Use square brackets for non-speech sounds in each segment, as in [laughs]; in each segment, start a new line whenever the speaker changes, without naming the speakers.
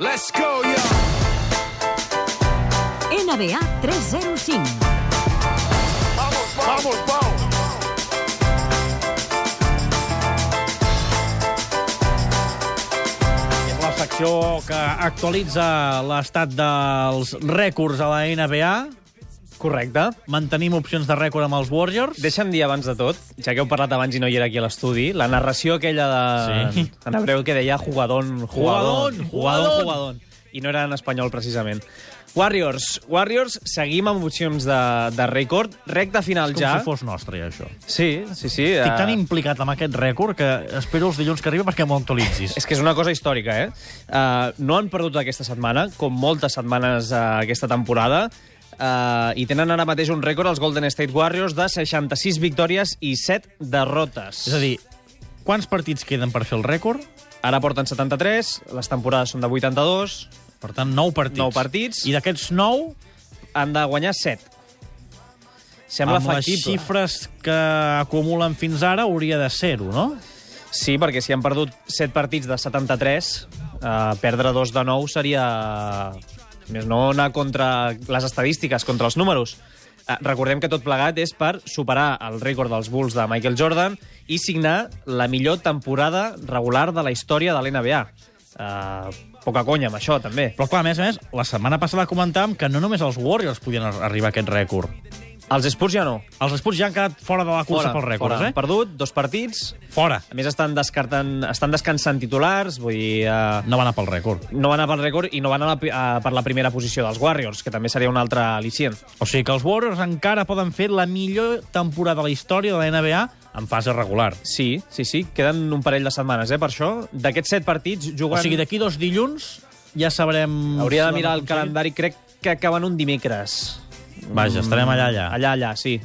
Let's go, yo!
NBA 305.
Vamos, vamos!
La secció que actualitza l'estat dels rècords a la NBA.
Correcte.
Mantenim opcions de rècord amb els Warriors.
Deixa'm dir abans de tot, ja que heu parlat abans i no hi era aquí a l'estudi, la narració aquella de...
Sí.
en hebreu que deia jugadón,
Jugadón,
jugadón,
jugadón.
jugadón. I no era en espanyol, precisament. Warriors, Warriors, seguim amb opcions de, de rècord. Recta final
Com
ja.
si fos nostre, ja, això.
Sí, sí, sí.
Estic
eh,
tan implicat amb aquest rècord que espero els dilluns que arriba perquè m'ho actualitzis.
És que és una cosa històrica, eh? Uh, no han perdut aquesta setmana, com moltes setmanes uh, aquesta temporada, uh, i tenen ara mateix un rècord els Golden State Warriors de 66 victòries i 7 derrotes.
És a dir, quants partits queden per fer el rècord?
Ara porten 73, les temporades són de 82,
Per tant, 9 partits.
Nou partits.
I d'aquests 9,
han de guanyar 7. Sembla
amb les
factible.
xifres que acumulen fins ara, hauria de ser-ho, no?
Sí, perquè si han perdut 7 partits de 73, eh, perdre 2 de 9 seria... si Més no anar contra les estadístiques, contra els números. Eh, recordem que tot plegat és per superar el rècord dels Bulls de Michael Jordan i signar la millor temporada regular de la història de l'NBA. Eh, poca conya amb això, també.
Però, clar, a més a més, la setmana passada comentàvem que no només els Warriors podien ar- arribar a aquest rècord.
Els Spurs ja no.
Els Spurs ja han quedat fora de la cursa pels rècords,
fora.
eh?
Han perdut dos partits.
Fora.
A més, estan, descartant, estan descansant titulars, vull dir... Eh,
No va anar pel rècord.
no van anar pel rècord i no van anar a, a, per la primera posició dels Warriors, que també seria un altre al·licient.
O sigui que els Warriors encara poden fer la millor temporada de la història de la NBA en fase regular.
Sí, sí, sí, queden un parell de setmanes, eh, per això. D'aquests set partits
O
juguen...
sigui, d'aquí dos dilluns ja sabrem... si
Hauria de mirar
l'han
el
aconseguit.
calendari, crec que acaben un dimecres.
Vaja, estarem allà, allà.
Allà, allà, sí.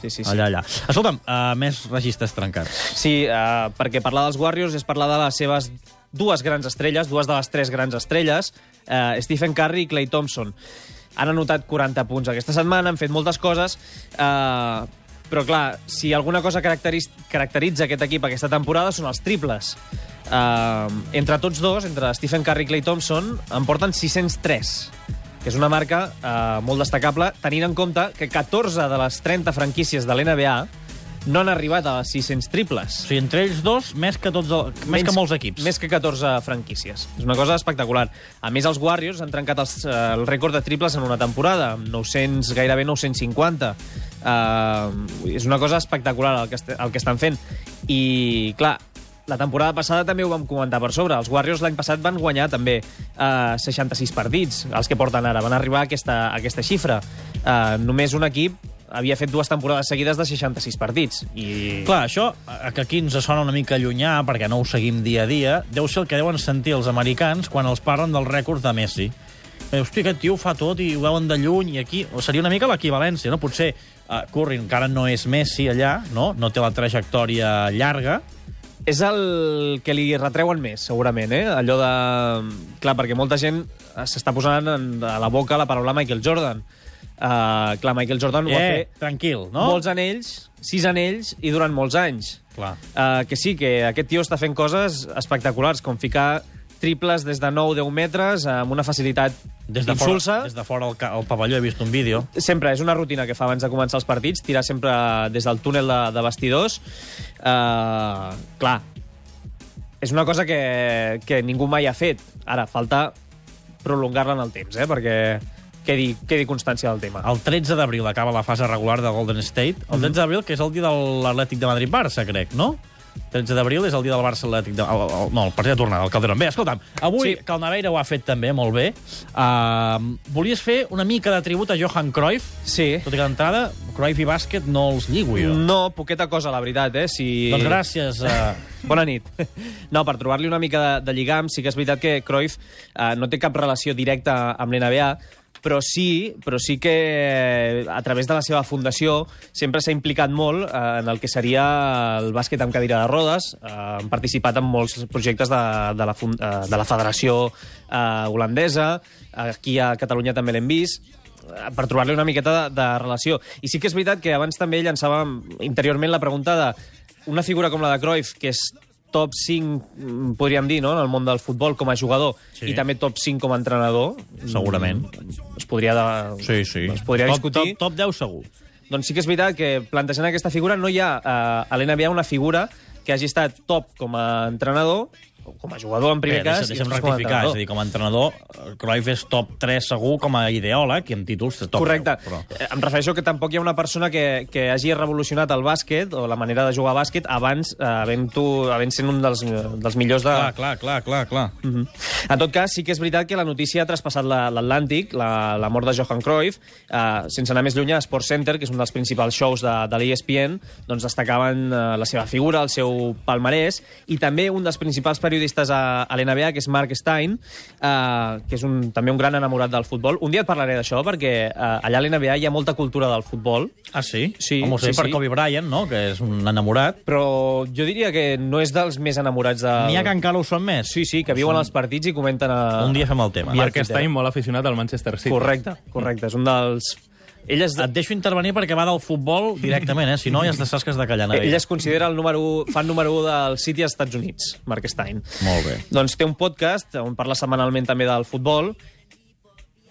Sí, sí, sí.
Allà, allà. Escolta'm, uh, més registres trencats.
Sí, eh, perquè parlar dels Warriors és parlar de les seves dues grans estrelles, dues de les tres grans estrelles, eh, Stephen Curry i Clay Thompson. Han anotat 40 punts aquesta setmana, han fet moltes coses, eh, però clar, si alguna cosa caracteris- caracteritza aquest equip aquesta temporada són els triples. Eh, entre tots dos, entre Stephen Curry i Clay Thompson, en porten 603 que és una marca eh, molt destacable, tenint en compte que 14 de les 30 franquícies de l'NBA no han arribat a les 600 triples.
O sigui, entre ells dos, més que, tots el, més que molts equips.
Més que 14 franquícies. És una cosa espectacular. A més, els Warriors han trencat els, eh, el rècord de triples en una temporada, amb 900, gairebé 950. Uh, és una cosa espectacular el que, est el que estan fent. I, clar, la temporada passada també ho vam comentar per sobre. Els Warriors l'any passat van guanyar també eh, 66 partits, els que porten ara. Van arribar a aquesta, a aquesta xifra. Eh, només un equip havia fet dues temporades seguides de 66 partits. I...
Clar, això, eh, que aquí ens sona una mica llunyà, perquè no ho seguim dia a dia, deu ser el que deuen sentir els americans quan els parlen dels rècords de Messi. Eh, Hosti, aquest tio ho fa tot i ho veuen de lluny i aquí... O seria una mica l'equivalència, no? Potser uh, Curry encara no és Messi allà, no? No té la trajectòria llarga.
És el que li retreuen més, segurament, eh? Allò de... Clar, perquè molta gent s'està posant en- a la boca la paraula Michael Jordan. Uh, clar, Michael Jordan ho va
eh,
fer
tranquil,
no?
no?
molts anells, sis anells, i durant molts anys.
Clar.
Uh, que sí, que aquest tio està fent coses espectaculars, com ficar triples des de 9-10 metres amb una facilitat
Des de,
insulsa.
fora, des de fora el, ca- el pavelló he vist un vídeo.
Sempre, és una rutina que fa abans de començar els partits, tirar sempre des del túnel de, de vestidors. Uh, clar, és una cosa que, que ningú mai ha fet. Ara, falta prolongar-la en el temps, eh? perquè quedi, quedi constància del tema.
El 13 d'abril acaba la fase regular de Golden State. El 13 d'abril, que és el dia de l'Atlètic de Madrid-Barça, crec, no? 13 d'abril és el dia del Barça-Atlètic... De... El, el, no, el partit de tornada, el Calderón. Bé, escolta'm, avui
Sí.
sí. Calnaveira ho ha fet també, molt bé. Uh, volies fer una mica de tribut a Johan Cruyff,
Sí.
tot i que d'entrada Cruyff i bàsquet no els lligo jo. Mm.
No, poqueta cosa, la veritat, eh? Si...
Doncs gràcies. Uh...
Bona nit. No, per trobar-li una mica de, de lligam, sí que és veritat que Cruyff eh, no té cap relació directa amb l'NBA, però sí, però sí que eh, a través de la seva fundació sempre s'ha implicat molt eh, en el que seria el bàsquet amb cadira de rodes. Eh, han participat en molts projectes de, de, la, fun- eh, de la Federació eh, holandesa. Aquí a Catalunya també l'hem vist eh, per trobar-li una miqueta de, de relació. I sí que és veritat que abans també llançàvem interiorment la pregunta de una figura com la de Cruyff, que és top 5, mm, podríem dir, no?, en el món del futbol com a jugador
Sí.
sí. i també top 5 com a entrenador.
Segurament.
Mm, Es podria, de...
Sí, sí.
es Doncs podria
top,
discutir.
Top, top 10 segur.
Doncs sí que és veritat que plantejant aquesta figura no hi ha eh, a l'NBA una figura que hagi estat top com a entrenador, o com a jugador en primer
Bé,
cas...
deixa, deixa'm
i després com a
rectificar, és
entrenador.
a dir, com a entrenador, eh, Cruyff és top 3 segur com a ideòleg i amb títols top
Correcte.
10, però...
Eh, Em refereixo que tampoc hi ha una persona que, que hagi revolucionat el bàsquet o la manera de jugar a bàsquet abans eh, havent, tu, havent sent un dels, eh, dels millors de...
Clar, clar, clar, clar, clar. Mm.
Mhm. En tot cas, sí que és veritat que la notícia ha traspassat la- l'Atlàntic, la, la mort de Johan Cruyff. Eh, sense anar més lluny, a Sports Center, que és un dels principals shows de, de l'ESPN, doncs destacaven eh, la seva figura, el seu palmarès, i també un dels principals periodistes a, a l'NBA, que és Mark Stein, eh, que és un, també un gran enamorat del futbol. Un dia et parlaré d'això, perquè eh, allà a l'NBA hi ha molta cultura del futbol,
Ah, sí?
Sí,
Home, ho sé
sí,
per
sí.
Kobe Bryant, no?, que és un enamorat.
però jo diria que no és dels més enamorats de...
N'hi ha que encara ho són més.
Sí, sí, que viuen als partits i comenten... A...
Un dia fem el tema.
via
Marc
Twitter.
Stein, molt aficionat al Manchester City.
Correcte, correcte. És un dels... Ell Mm. es,
Et deixo intervenir perquè va del futbol directament, eh? Si no, ja es saps que has de callar. Nadal.
ell es considera el número 1, fan número 1 del City als Estats Units, Mark Stein.
Molt bé.
Doncs té un podcast on parla setmanalment també del futbol.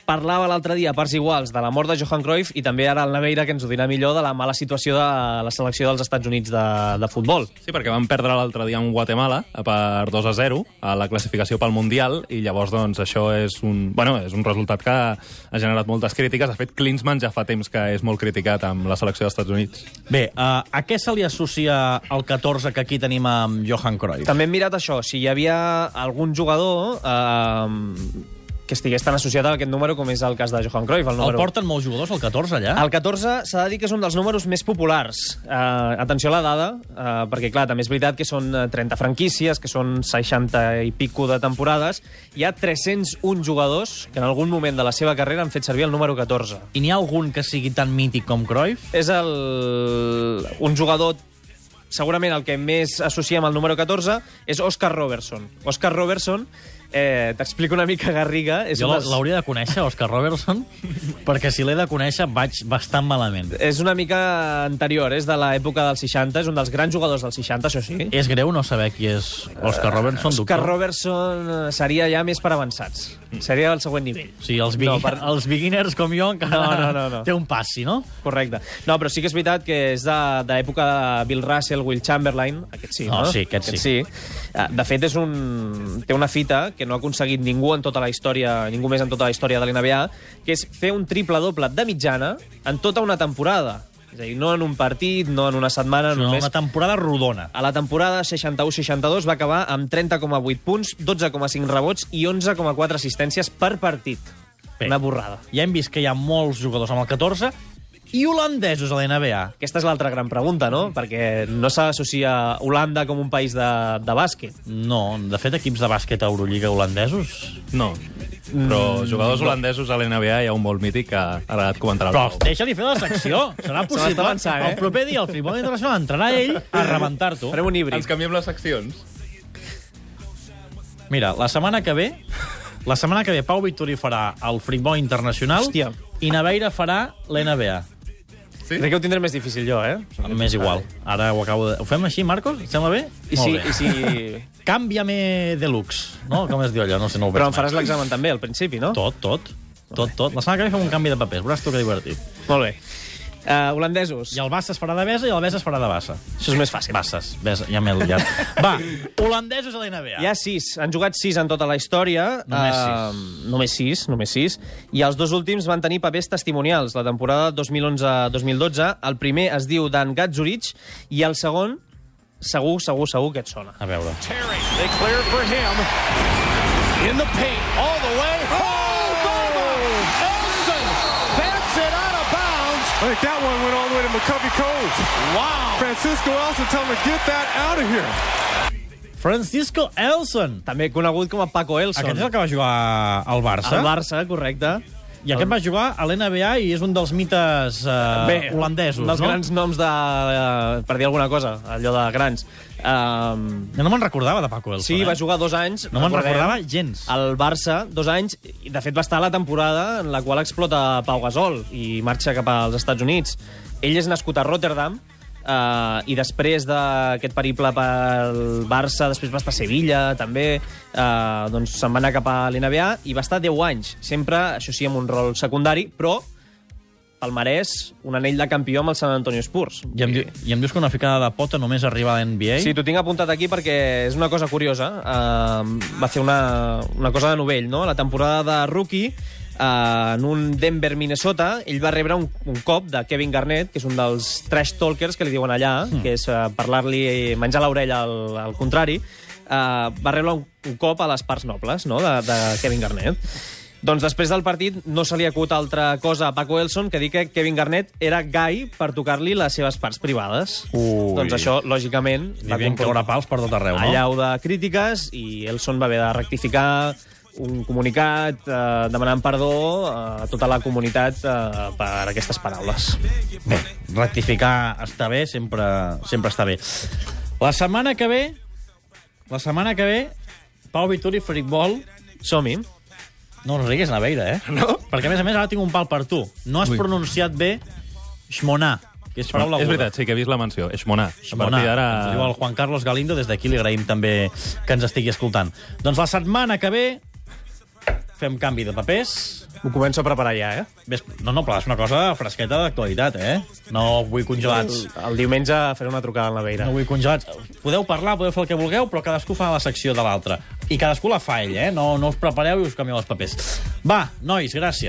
Parlava l'altre dia a parts iguals de la mort de Johan Cruyff i també ara el Naveira, que ens ho dirà millor, de la mala situació de la selecció dels Estats Units de, de futbol.
Sí, perquè van perdre l'altre dia en Guatemala eh, per 2 a 0 a la classificació pel Mundial i llavors doncs, això és un, bueno, és un resultat que ha generat moltes crítiques. De fet, Klinsmann ja fa temps que és molt criticat amb la selecció dels Estats Units.
Bé, uh, a què se li associa el 14 que aquí tenim amb Johan Cruyff?
També hem mirat això, si hi havia algun jugador eh, que estigués tan associat a aquest número com és el cas de Johan Cruyff, el
El
número
porten molts jugadors, el 14, allà?
El 14 s'ha de dir que és un dels números més populars. Uh, atenció a la dada, uh, perquè clar, també és veritat que són eh, 30 franquícies, que són 60 i pico de temporades. Hi ha 301 jugadors que en algun moment de la seva carrera han fet servir el número 14.
I n'hi ha algun que sigui tan mític com Cruyff?
És el... un jugador segurament el que més associem al número 14 és Oscar Robertson. Oscar Robertson, eh, t'explico una mica, Garriga... És
Jo
un
la-
dels-
l'hauria de conèixer, Oscar Robertson, perquè si l'he de conèixer vaig bastant malament.
És una mica anterior, és de l'època dels 60, és un dels grans jugadors dels 60, això sí.
És greu no saber qui és Oscar Robertson,
Oscar
doctor.
Robertson eh, seria ja més per avançats. Seria el següent nivell.
Mm. Sí, els, begin...
No,
no,
per-
[laughs] els beginners com jo encara
No, no, no, no.
té un passi, no?
Correcte. No, però sí que és veritat que és de- d'època de, Bill Russell, Will Chamberlain, aquest sí,
No,
no?
sí, aquest
sí. Eh, De fet, és un, té una fita que no ha aconseguit ningú en tota la història, ningú més en tota la història de l'NBA, que és fer un triple-doble de mitjana en tota una temporada. És a dir, no en un partit, no en una setmana,
És una
només...
temporada rodona.
A la temporada 61-62 va acabar amb 30,8 punts, 12,5 rebots i 11,4 assistències per partit.
Bé.
Una borrada.
Ja hem vist que hi ha molts jugadors amb el 14 i holandesos a la NBA.
Aquesta és l'altra gran pregunta, no?
Mm.
Perquè no s'associa Holanda com un país de, de bàsquet.
No, de fet, equips de bàsquet a Eurolliga holandesos...
No, però jugadors holandesos a l'NBA hi ha un molt mític que ara et comentarà el
Però
Pau.
deixa-li fer la secció. Serà
[laughs] Se
possible.
m'està avançant, eh?
El proper dia, el Futbol Internacional, entrarà ell a rebentar-t'ho.
Farem un híbrid.
Ens canviem les seccions.
Mira, la setmana que ve... La setmana que ve Pau Victori farà el Futbol Internacional
Hòstia.
i Naveira farà l'NBA.
Sí?
Crec que ho tindré més difícil jo, eh?
M'és igual. Ara ho acabo de... Ho fem així, Marcos? Et sembla bé?
I
Molt
si,
bé.
i
[laughs]
si...
Canvia-me deluxe, no? Com es diu allò? No sé, no ho veig
Però em
mai.
faràs l'examen també, al principi, no?
Tot, tot. Tot, tot. La setmana que ve fem un canvi de papers. Veuràs tu que divertit.
Molt bé. Uh, holandesos.
I el Bassa es farà de Besa i el Besa es farà de Bassa.
Això és més fàcil.
Basses. Besa, ja m'he liat.
[laughs]
Va, holandesos a l'NBA.
Hi ha sis, han jugat sis en tota la història.
Només
sis. Només sis, només sis. I els dos últims van tenir papers testimonials, la temporada 2011-2012. El primer es diu Dan Gatzurich i el segon, segur, segur, segur que et sona.
A veure.
Terry. They clear for him. In the paint, all the way. Oh, Bubba! Elson bats it out of bounds.
I think that one went all the way to McCovey Cove.
Wow.
Francisco Elson telling him to get that out of here.
Francisco Elson.
També conegut com a Paco Elson.
Aquest és el que va jugar al Barça.
El Barça, correcte.
I aquest va jugar a l'NBA i és un dels mites eh, holandesos,
un dels
no?
grans noms de... eh, per dir alguna cosa, allò de grans. Um,
Jo no me'n recordava de Paco Elson.
sí,
eh?
va jugar dos anys.
No me'n
recordem,
recordava gens.
al Barça, dos anys, i de fet va estar a la temporada en la qual explota Pau Gasol i marxa cap als Estats Units. Ell és nascut a Rotterdam, eh, Uh, I després d'aquest periple pel Barça, després va estar a Sevilla, també, uh, doncs se'n va anar cap a l'NBA i va estar 10 anys, sempre, això sí, amb un rol secundari, però palmarès, un anell de campió amb el San Antonio Spurs.
I em, di- I em dius que una ficada de pota només arriba a l'NBA?
Sí, t'ho tinc apuntat aquí perquè és una cosa curiosa. Uh, va fer una, una cosa de novell, no? La temporada de rookie, uh, en un Denver, Minnesota, ell va rebre un, un cop de Kevin Garnett, que és un dels trash talkers que li diuen allà, mm. que és uh, parlar-li, menjar l'orella al, al contrari. Uh, va rebre un, un cop a les parts nobles no? de, de Kevin Garnett. Doncs després del partit no se li acut altra cosa a Paco Elson que dir que Kevin Garnett era gai per tocar-li les seves parts privades.
Ui.
Doncs això, lògicament,
Li havien caure pals per tot arreu, no?
allau de crítiques i Elson va haver de rectificar un comunicat eh, demanant perdó a tota la comunitat eh, per aquestes paraules.
Bé, rectificar està bé, sempre, sempre està bé. La setmana que ve, la setmana que ve, Pau Vituri, Fricbol,
Som-hi.
no ens riguis la veira, eh? No? Perquè, a més a més, ara tinc un pal per tu. No has Ui. pronunciat bé Xmonar, que és paraula
és
aguda.
veritat, sí que he vist la menció. Eixmonar. A
Bona,
partir d'ara...
ens diu el Juan Carlos Galindo, des d'aquí li agraïm també que ens estigui escoltant. Doncs la setmana que ve fem canvi de papers.
Ho començo a preparar ja, eh?
Ves- No, no, però és una cosa fresqueta d'actualitat, eh? No vull
El,
congelats.
el diumenge faré una trucada a la Veira.
No vull congelats. Podeu parlar, podeu fer el que vulgueu, però cadascú fa la secció de l'altre. I cadascú la fa ell, eh? No, no us prepareu i us canvieu els papers. Va, nois, gràcies.